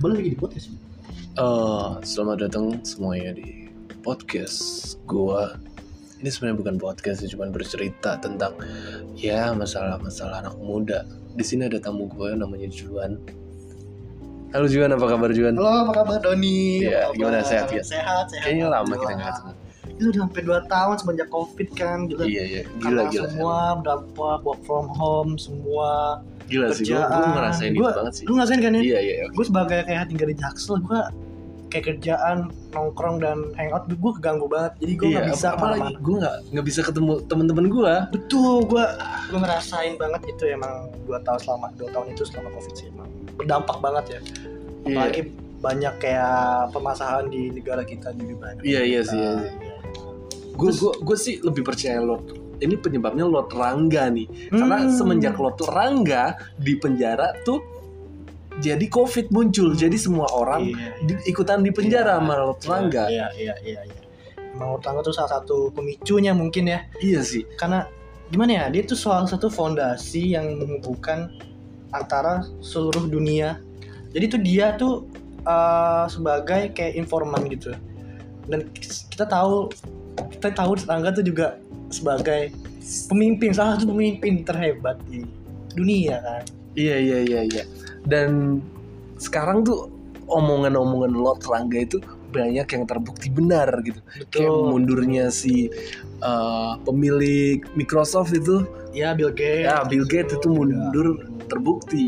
Boleh lagi di podcast. Eh, selamat datang semuanya di podcast gua. Ini sebenarnya bukan podcast, sih, cuman bercerita tentang ya masalah-masalah anak muda. Di sini ada tamu gue namanya Juan. Halo Juan, apa kabar Juan? Halo, apa kabar Doni? Iya, Apa kabar? gimana, sehat, ya? Sehat, sehat. Kayaknya lama kita nggak Alhamdulillah. ketemu. Itu udah hampir 2 tahun semenjak Covid kan juga. Iya iya, gila Karena gila. Semua berapa work from home semua. Gila sih, gue kerjaan. ngerasain itu Gua- banget sih. Lu ngerasain kan ya? Iya iya. Gue sebagai kayak tinggal di Jaksel, gue kayak kerjaan nongkrong dan hangout gue keganggu banget jadi gue nggak Iya, bisa apalagi kemana-mana gue nggak nggak bisa ketemu temen-temen gue. betul gue gue ngerasain banget itu emang dua tahun selama dua tahun itu selama covid sih emang berdampak banget ya Iya. apalagi banyak kayak permasalahan di negara kita juga banyak Iya iya sih. Iya, sih. Gue gue gue sih lebih percaya lo. Ini penyebabnya lo Rangga nih. Hmm. Karena semenjak lo Rangga di penjara tuh jadi covid muncul. Jadi semua orang di- ikutan di Iya. penjara sama lo Rangga. Iya, iya, iya, iya. Emang Lord Rangga tuh salah satu pemicunya mungkin ya. Iya sih. Karena gimana ya, dia tuh salah satu fondasi yang menghubungkan antara seluruh dunia. Jadi tuh dia tuh eh, sebagai kayak informan gitu. Dan kita tahu kita tahu Rangga tuh juga sebagai pemimpin salah satu pemimpin terhebat di dunia kan. Iya iya iya iya. Dan sekarang tuh omongan-omongan lo Rangga itu banyak yang terbukti benar gitu. Kayak mundurnya si eh, pemilik Microsoft itu Ya Bill Gates. Ya, Bill Gates itu mundur Iya. terbukti.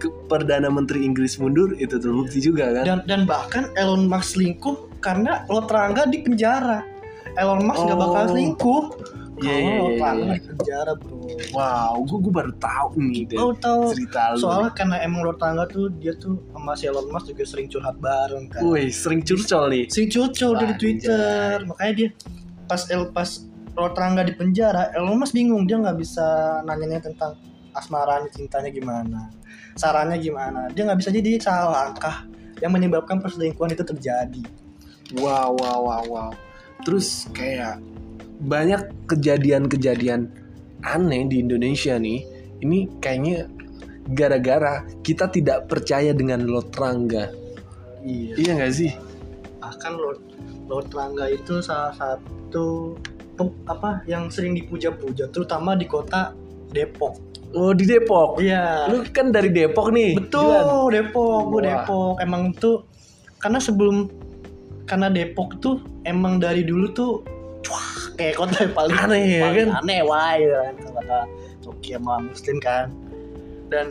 Ke Perdana Menteri Inggris mundur itu terbukti Iya. juga kan? Dan dan bahkan Elon Musk selingkuh karena Lot Rangga di penjara. Elon Musk nggak Oh. bakal selingkuh Iya, kalau iya, Lot iya, Rangga iya. di penjara bro. Wow, gue baru tahu nih dari Lo tau cerita lu. soalnya karena emang Lot Rangga tuh dia tuh sama si Elon Musk juga sering curhat bareng kan. Wih, sering curcol nih. Sering curcol dari Wah, Twitter makanya dia pas El pas Lot Rangga di penjara Elon Musk bingung dia nggak bisa nanyanya tentang asmaranya cintanya gimana sarannya gimana dia nggak bisa jadi salah langkah yang menyebabkan perselingkuhan itu terjadi Wow, wow, wow, wow. Terus kayak banyak kejadian-kejadian aneh di Indonesia nih. Ini kayaknya gara-gara kita tidak percaya dengan Lot Rangga. Iya. Iya nggak sih? Bahkan Lord Lord Rangga itu salah satu pem- apa yang sering dipuja-puja terutama di kota Depok. Oh di Depok. Iya. Lu kan dari Depok nih. Iya. Juan. Betul, Depok, gua Wah. Depok. Emang tuh karena sebelum karena Depok tuh emang dari dulu tuh cuah, kayak kota yang paling Aneh, ya paling kan? Aneh wah gitu kan kata Turki sama Muslim kan. Dan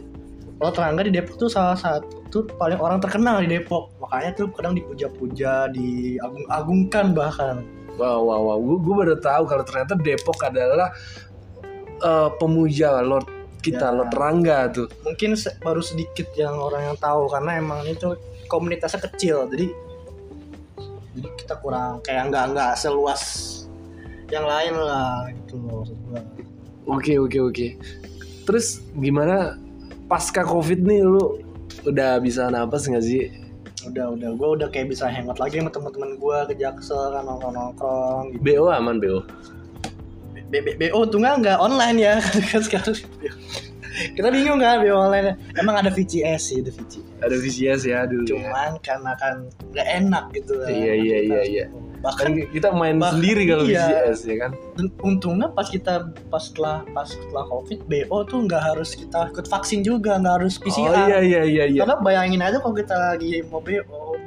Lord Rangga di Depok tuh salah satu paling orang terkenal di Depok. Makanya tuh kadang dipuja-puja, diagung-agungkan bahkan. Wow, wow, wow. Gue, baru tahu kalau ternyata Depok adalah eh, pemuja Lord kita, Ya. Lord Rangga tuh. mungkin se- baru sedikit yang orang yang tahu karena emang itu komunitasnya kecil jadi jadi kita kurang kayak nggak nggak seluas yang lain lah gitu loh maksud gua. Oke, oke, oke. Terus gimana pasca COVID nih lu udah bisa napas nggak sih? udah udah gue udah kayak bisa hangout lagi sama teman-teman gue ke jaksel kan nongkrong nongkrong gitu. BO aman BO. B- B- BO untungnya nggak online ya kan sekarang kita bingung kan BO online emang ada VCS sih ada VCS Ada VCS ya dulu. ya. cuman karena kan nggak enak gitu kan. Iya, iya, iya, iya. bahkan Kan kita main Bahkan- sendiri kalau iya. VCS ya kan. Dan untungnya pas kita pas setelah pas setelah covid bo tuh nggak harus kita ikut vaksin juga nggak harus Oh pcr iya iya iya iya. karena bayangin aja kalau kita lagi mau bo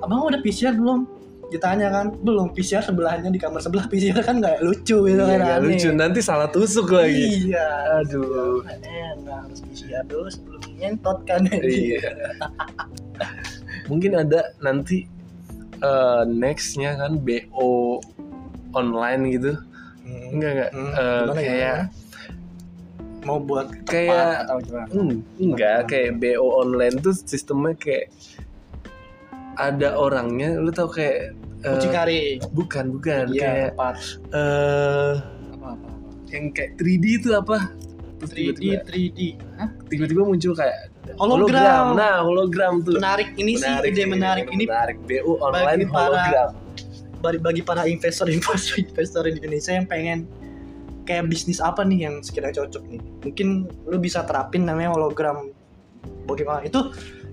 abang udah pcr belum ditanya kan belum pcr sebelahnya di kamar sebelah pcr kan nggak lucu gitu Iya, kan nggak aneh. lucu nanti salah tusuk lagi. iya Aduh. eh nggak harus pcr dulu sebelum nyentot kan Iya. Mungkin ada nanti eh, nextnya kan BO online gitu. Hmm. Enggak enggak. Hmm, Eh, gimana, kayak gimana? mau buat tempat kayak- atau gimana Hmm, enggak kayak BO online tuh sistemnya kayak ada orangnya lu tau kayak eh, Mucikari, bukan bukan iya kayak tempat eh apa apa apa. yang kayak 3D itu apa? Terus 3D tiba-tiba 3D Hah? tiba-tiba muncul kayak hologram. Nah, hologram tuh. iya, menarik ini sih ide menarik ini menarik BO online para- hologram. bagi, bagi para investor investor investor di Indonesia yang pengen kayak bisnis apa nih yang sekiranya cocok nih mungkin lu bisa terapin namanya hologram bagaimana itu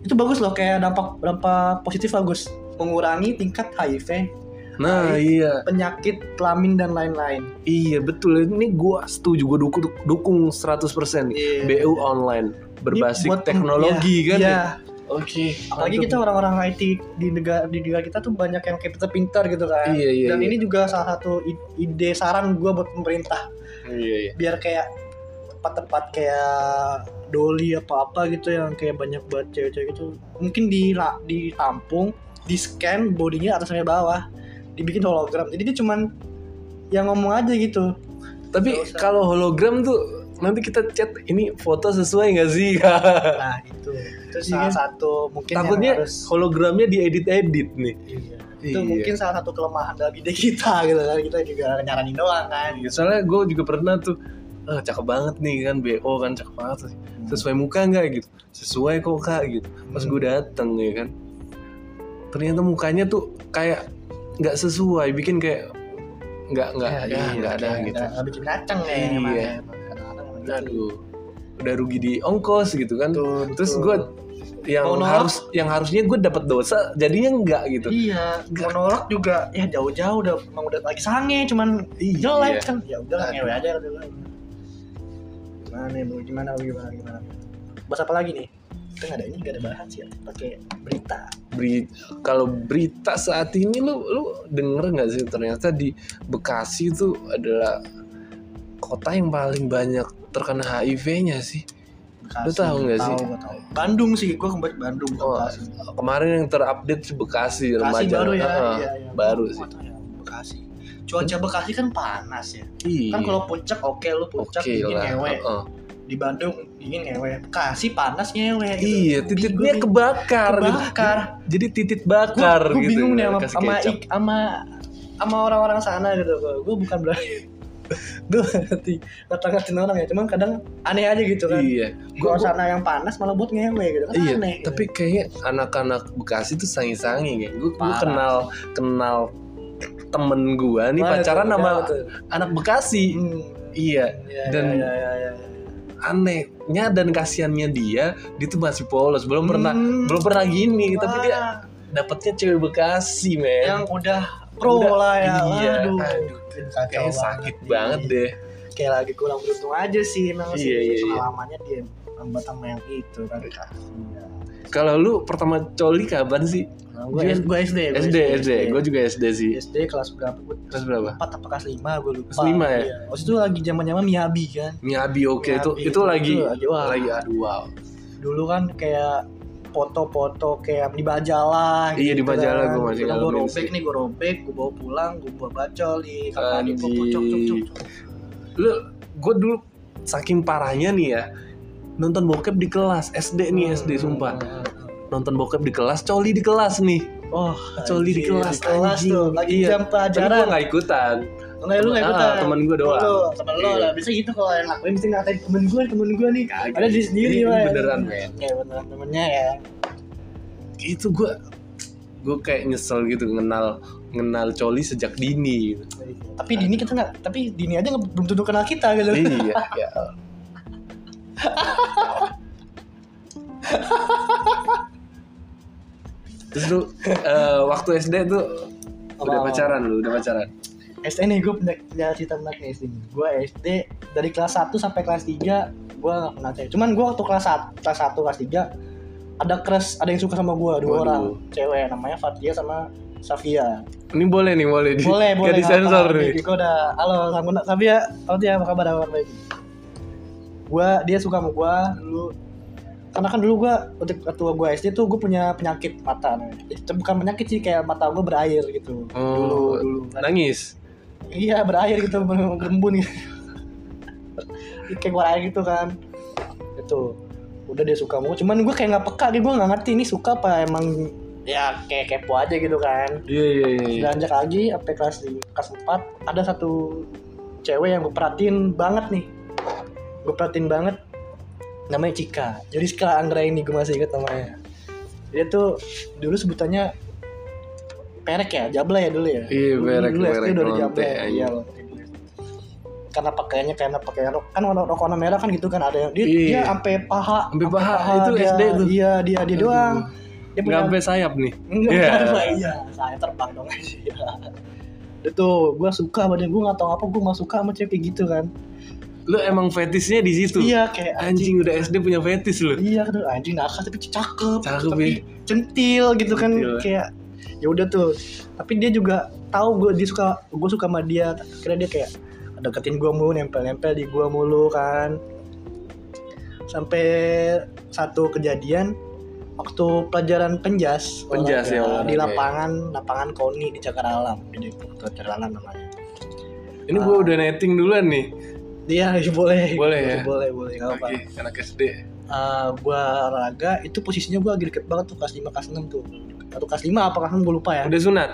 itu bagus loh kayak dampak dampak positif bagus mengurangi tingkat HIV Nah iya, penyakit kelamin dan lain-lain iya betul. Ini gua setuju, gua dukung, dukung 100% Iya. BU online berbasis Ini buat- teknologi iya, kan. iya. Oke. apalagi mantap. kita orang-orang IT di negara di negara kita tuh banyak yang kayak kita pintar gitu kan Iya iya. dan iya. ini juga salah satu i- ide saran gue buat pemerintah Iya iya. biar kayak tempat-tempat kayak doli apa apa gitu yang kayak banyak buat cewek-cewek gitu mungkin di ditampung di scan bodinya atas sampai bawah dibikin hologram jadi dia cuman yang ngomong aja gitu Tapi Nggak usah. kalau hologram tuh nanti kita chat ini foto sesuai nggak sih? nah itu itu salah Iya. satu mungkin yang Takutnya harus- hologramnya diedit-edit nih. iya. itu Iya. mungkin salah satu kelemahan dalam ide kita gitu kan kita juga nyaranin doang kan Iya, soalnya gue juga pernah tuh ah cakep banget nih kan BO kan cakep banget sesuai muka nggak gitu sesuai kok kak gitu pas Hmm. gue dateng ya kan ternyata mukanya tuh kayak nggak sesuai bikin kayak nggak nggak Ya, ya iya, nggak ada kayak gitu nggak bikin kacang ya Iya. emang, emang. Kadang-kadang emang gitu. aduh udah rugi di ongkos gitu kan Betul, terus betul. gue yang Mau nolak? harus yang harusnya gue dapat dosa jadinya nggak gitu iya Nggak. monolog juga ya jauh-jauh udah emang udah lagi sange cuman Iya. jelek kan ya udah ngewe aja kan dulu. gimana ya, Bu? gimana Bu? gimana gimana bahas apa lagi nih kita nggak ada ini nggak ada bahan sih ya. pakai berita Beri- kalau berita saat ini lu lu denger nggak sih ternyata di Bekasi itu adalah kota yang paling banyak terkena HIV-nya sih Bekasi, Lu tahu nggak sih? tahu gua tahu Bandung sih gua kembali ke Bandung bukan Oh, Bekasi kemarin yang terupdate sih Bekasi Bekasi remaja baru ya, Heeh, iya, iya. baru Gua sih tahu ya, Bekasi cuaca Bekasi kan panas ya Iya. kan kalau puncak oke lu puncak Oke dingin lah, ngewe Iya. heeh. di Bandung dingin ngewe Bekasi panas ngewe gitu. iya titiknya kebakar, gitu. Kebakar. jadi titit bakar gue gitu bingung nih sama kasih sama kecap. ik- sama sama orang-orang sana gitu gue bukan berarti gue ngerti kata ngatain orang ya cuman kadang aneh aja gitu kan iya gua, Gua- gua- sana yang panas malah buat ngewe gitu kan Iya, aneh tapi kayaknya anak-anak Bekasi tuh sangi-sangi kayak gue Parah. kenal kenal temen gua nih pacaran sama anak Bekasi. Hmm. Iya, dan dan- ya. anehnya dan kasihannya dia, dia tuh masih polos, belum pernah Hmm. belum pernah gini, tapi dia dapetnya cewek Bekasi, men. yang udah pro Udah, lah ya iya, aduh, aduh, kacau Kayaknya banget. sakit banget Iya. deh. kayak lagi kurang beruntung aja sih memang sih Iya, iya, iya. pengalamannya dia nambah sama yang itu kan Iya. Kalau lu pertama coli kapan sih? gue SD SD Nah, Iya, Dia- gua SD, SD. Gue juga SD sih. SD kelas berapa gue Kelas berapa? empat apa kelas lima gue lupa Kelas lima ya? Iya. waktu itu lagi zaman zaman Miyabi kan Miabi oke Miabi, itu itu itu lagi lagi, wah. lagi aduh wow. dulu kan kayak foto-foto kayak di majalah Iya, di majalah kan. gua masih Bilang, gua ngalamin robek sih. nih gue robek gue bawa pulang gue bawa bacol di kamar mandi gua Anjing. cok cok cok cok. Lu gue dulu saking parahnya nih ya nonton bokep di kelas SD nih SD Hmm. sumpah nonton bokep di kelas coli di kelas nih oh Coli di anjing, kelas, kelas anjing. tuh lagi Iya. jam Tapi gue pelajaran gak ikutan Enggak lu Temen- enggak ah, ikutan. temen gua doang. Lu, temen lu Iya. lah. Biasanya gitu kalau yang lakuin mesti ngatain temen gua, temen gua nih. Kagak. Ada di sendiri Ini lah. beneran, men. Ya beneran temennya ya. Itu gue Gue kayak nyesel gitu Ngenal Ngenal coli sejak dini gitu. Tapi Dini kita enggak, tapi Dini aja nggak- belum tentu kenal kita gitu. Iya ya. Terus lu eh, Waktu SD tuh Udah Apa? pacaran lu Udah pacaran SD nih gue punya, punya cerita menarik nih SD. Gue SD dari kelas 1 sampai kelas 3 gue gak pernah cewek. Cuman gue waktu kelas 1, kelas 1, kelas 3 ada crush, ada yang suka sama gue dua Waduh. orang cewek namanya Fatia sama Safia. Ini boleh nih Boleh di, boleh gak boleh disensor nih gue udah halo sama tapi ya halo dia apa kabar apa kabar baik gue dia suka sama gue dulu karena kan dulu gue untuk ketua gue SD tuh gue punya penyakit mata namanya. itu bukan penyakit sih kayak mata gue berair gitu dulu Oh, dulu Nangis iya berair gitu berembun gitu kayak berair gitu kan itu udah dia suka sama gue cuman gue kayak nggak peka gitu gue nggak ngerti ini suka apa emang ya kayak kepo aja gitu kan Iya iya iya iya. Beranjak lagi sampai kelas lima- kelas 4 ada satu cewek yang gue perhatiin banget nih. Gue perhatiin banget namanya Cika. Jadi Cika Anggra ini gue masih ingat namanya. Dia tuh dulu sebutannya perek ya, jable ya dulu ya. Iya, Dulu- perek, dulu SD perek, udah ada lonte, jable. anjing. Iya, lonte. karena pakaiannya karena pakaian rok kan warna rok warna merah kan gitu kan ada yang dia Iya. dia sampai paha Sampai paha, itu dia, SD tuh. iya dia dia doang dia Nggak sampai sayap nih. Enggak, Iya. enggak, iya. Saya terbang dong. Iya. Itu gue suka sama dia, gue gak tau apa gue gak suka sama cewek kayak gitu kan. Lu emang fetisnya di situ. Iya kayak anjing. Anjing udah SD punya fetis lu. Iya kan anjing nakal tapi cakep, Cakep, tapi ya. centil gitu kan Centil, ya. kayak ya udah tuh. Tapi dia juga tahu gue dia suka gue suka sama dia. Kira dia kayak deketin gue mulu, nempel-nempel di gue mulu kan. Sampai satu kejadian waktu pelajaran penjas, Penjas, ya, olahraga, di olahraga, ya. lapangan lapangan Koni di Cakar Alam di Depok tuh, Cakar Alam namanya Ini gua udah netting duluan nih. dia Iya, boleh Boleh, ya? boleh boleh nggak apa Oke, anak SD. Eh, gua olahraga itu posisinya gua lagi deket banget tuh kelas 5 kelas 6 tuh atau kelas 5 apa kelas 6 gua lupa ya Udah sunat.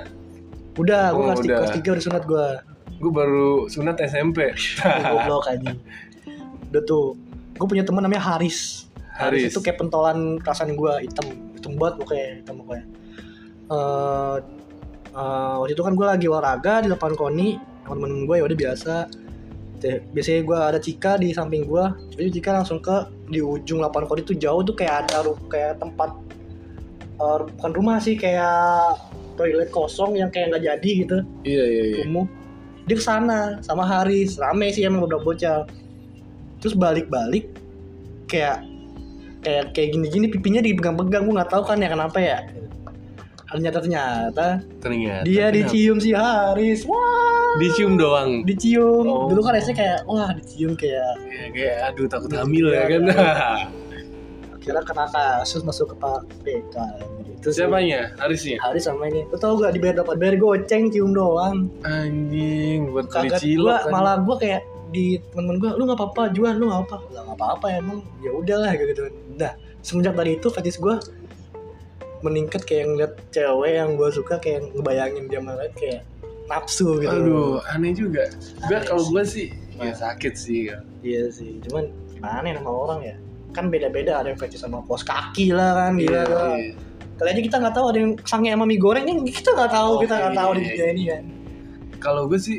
udah gua Oh, kelas, udah. tiga kelas 3 udah sunat gua Gua baru sunat SMP. goblok anjing udah tuh gua punya teman namanya Haris Haris. itu kayak pentolan perasaan gua hitam hitam banget mukanya hitam mukanya Eh, eh, waktu itu kan gua lagi olahraga di depan koni teman-teman gua ya udah biasa Te- biasanya gua ada Cika di samping gua jadi Cika langsung ke di ujung lapangan koni tuh jauh tuh kayak ada ru- kayak tempat eh, bukan rumah sih kayak toilet kosong yang kayak nggak jadi gitu Iya, iya, iya. kumuh dia kesana sama Haris rame sih emang beberapa bocah terus balik-balik kayak kayak kayak gini-gini pipinya dipegang-pegang gue nggak tahu kan ya kenapa ya ternyata ternyata Ternyata. dia kenapa? dicium si Haris wah dicium doang. dicium Oh. dulu kan rasanya kayak wah dicium kayak Ya, kayak aduh takut hamil ya Iya, kan. iya. akhirnya kena kasus masuk ke Pak PK terus Siapanya? Harisnya. Haris sama ini lo tau gak dibayar dapat bayar goceng cium doang Anjing buat beli kagak cilok. gua kan. malah gua kayak di temen-temen gua lu nggak apa-apa juan lu nggak apa nggak nggak apa-apa emang ya udahlah gitu gitu nah semenjak dari itu fetish gua meningkat kayak ngeliat cewek yang gua suka kayak ngebayangin dia malah kayak nafsu gitu Aduh, aneh juga. Gua Aneh kalau sih. gua sih ya Nah. sakit sih. ya. iya sih cuman gimana ya sama orang ya kan beda-beda ada yang fetish sama kos kaki lah kan gila Iya, lah. iya. kali aja kita nggak tahu ada yang sange sama mie goreng kan kita nggak tahu Oke, kita nggak tahu di iya, dunia ini kan Kalau gue sih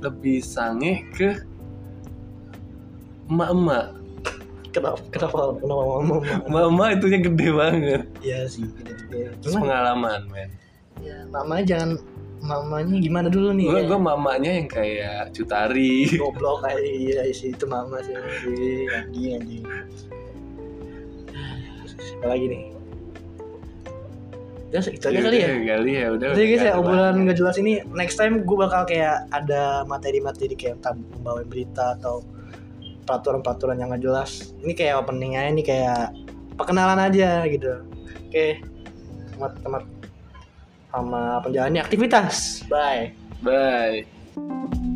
lebih sange ke emak-emak. kenapa kenapa kenapa ngomong Emak-emak itunya gede banget. iya sih beda-beda. Terus cuman pengalaman, men. Ya, mamanya jangan mamanya gimana dulu nih? Gue ya? gue mamanya yang kayak cutari. goblok kayak iya sih itu mama sih anjing anjing. Apa lagi nih? Ya itu aja Ya kali ya. udah, Kali ya udah. Jadi guys ya Kali obrolan banget. gak jelas ini next time gue bakal kayak ada materi-materi kayak entah membawa berita atau peraturan-peraturan yang gak jelas. Ini kayak opening aja nih kayak perkenalan aja gitu. Oke. Temat-temat sama penjalani aktivitas. Bye. Bye.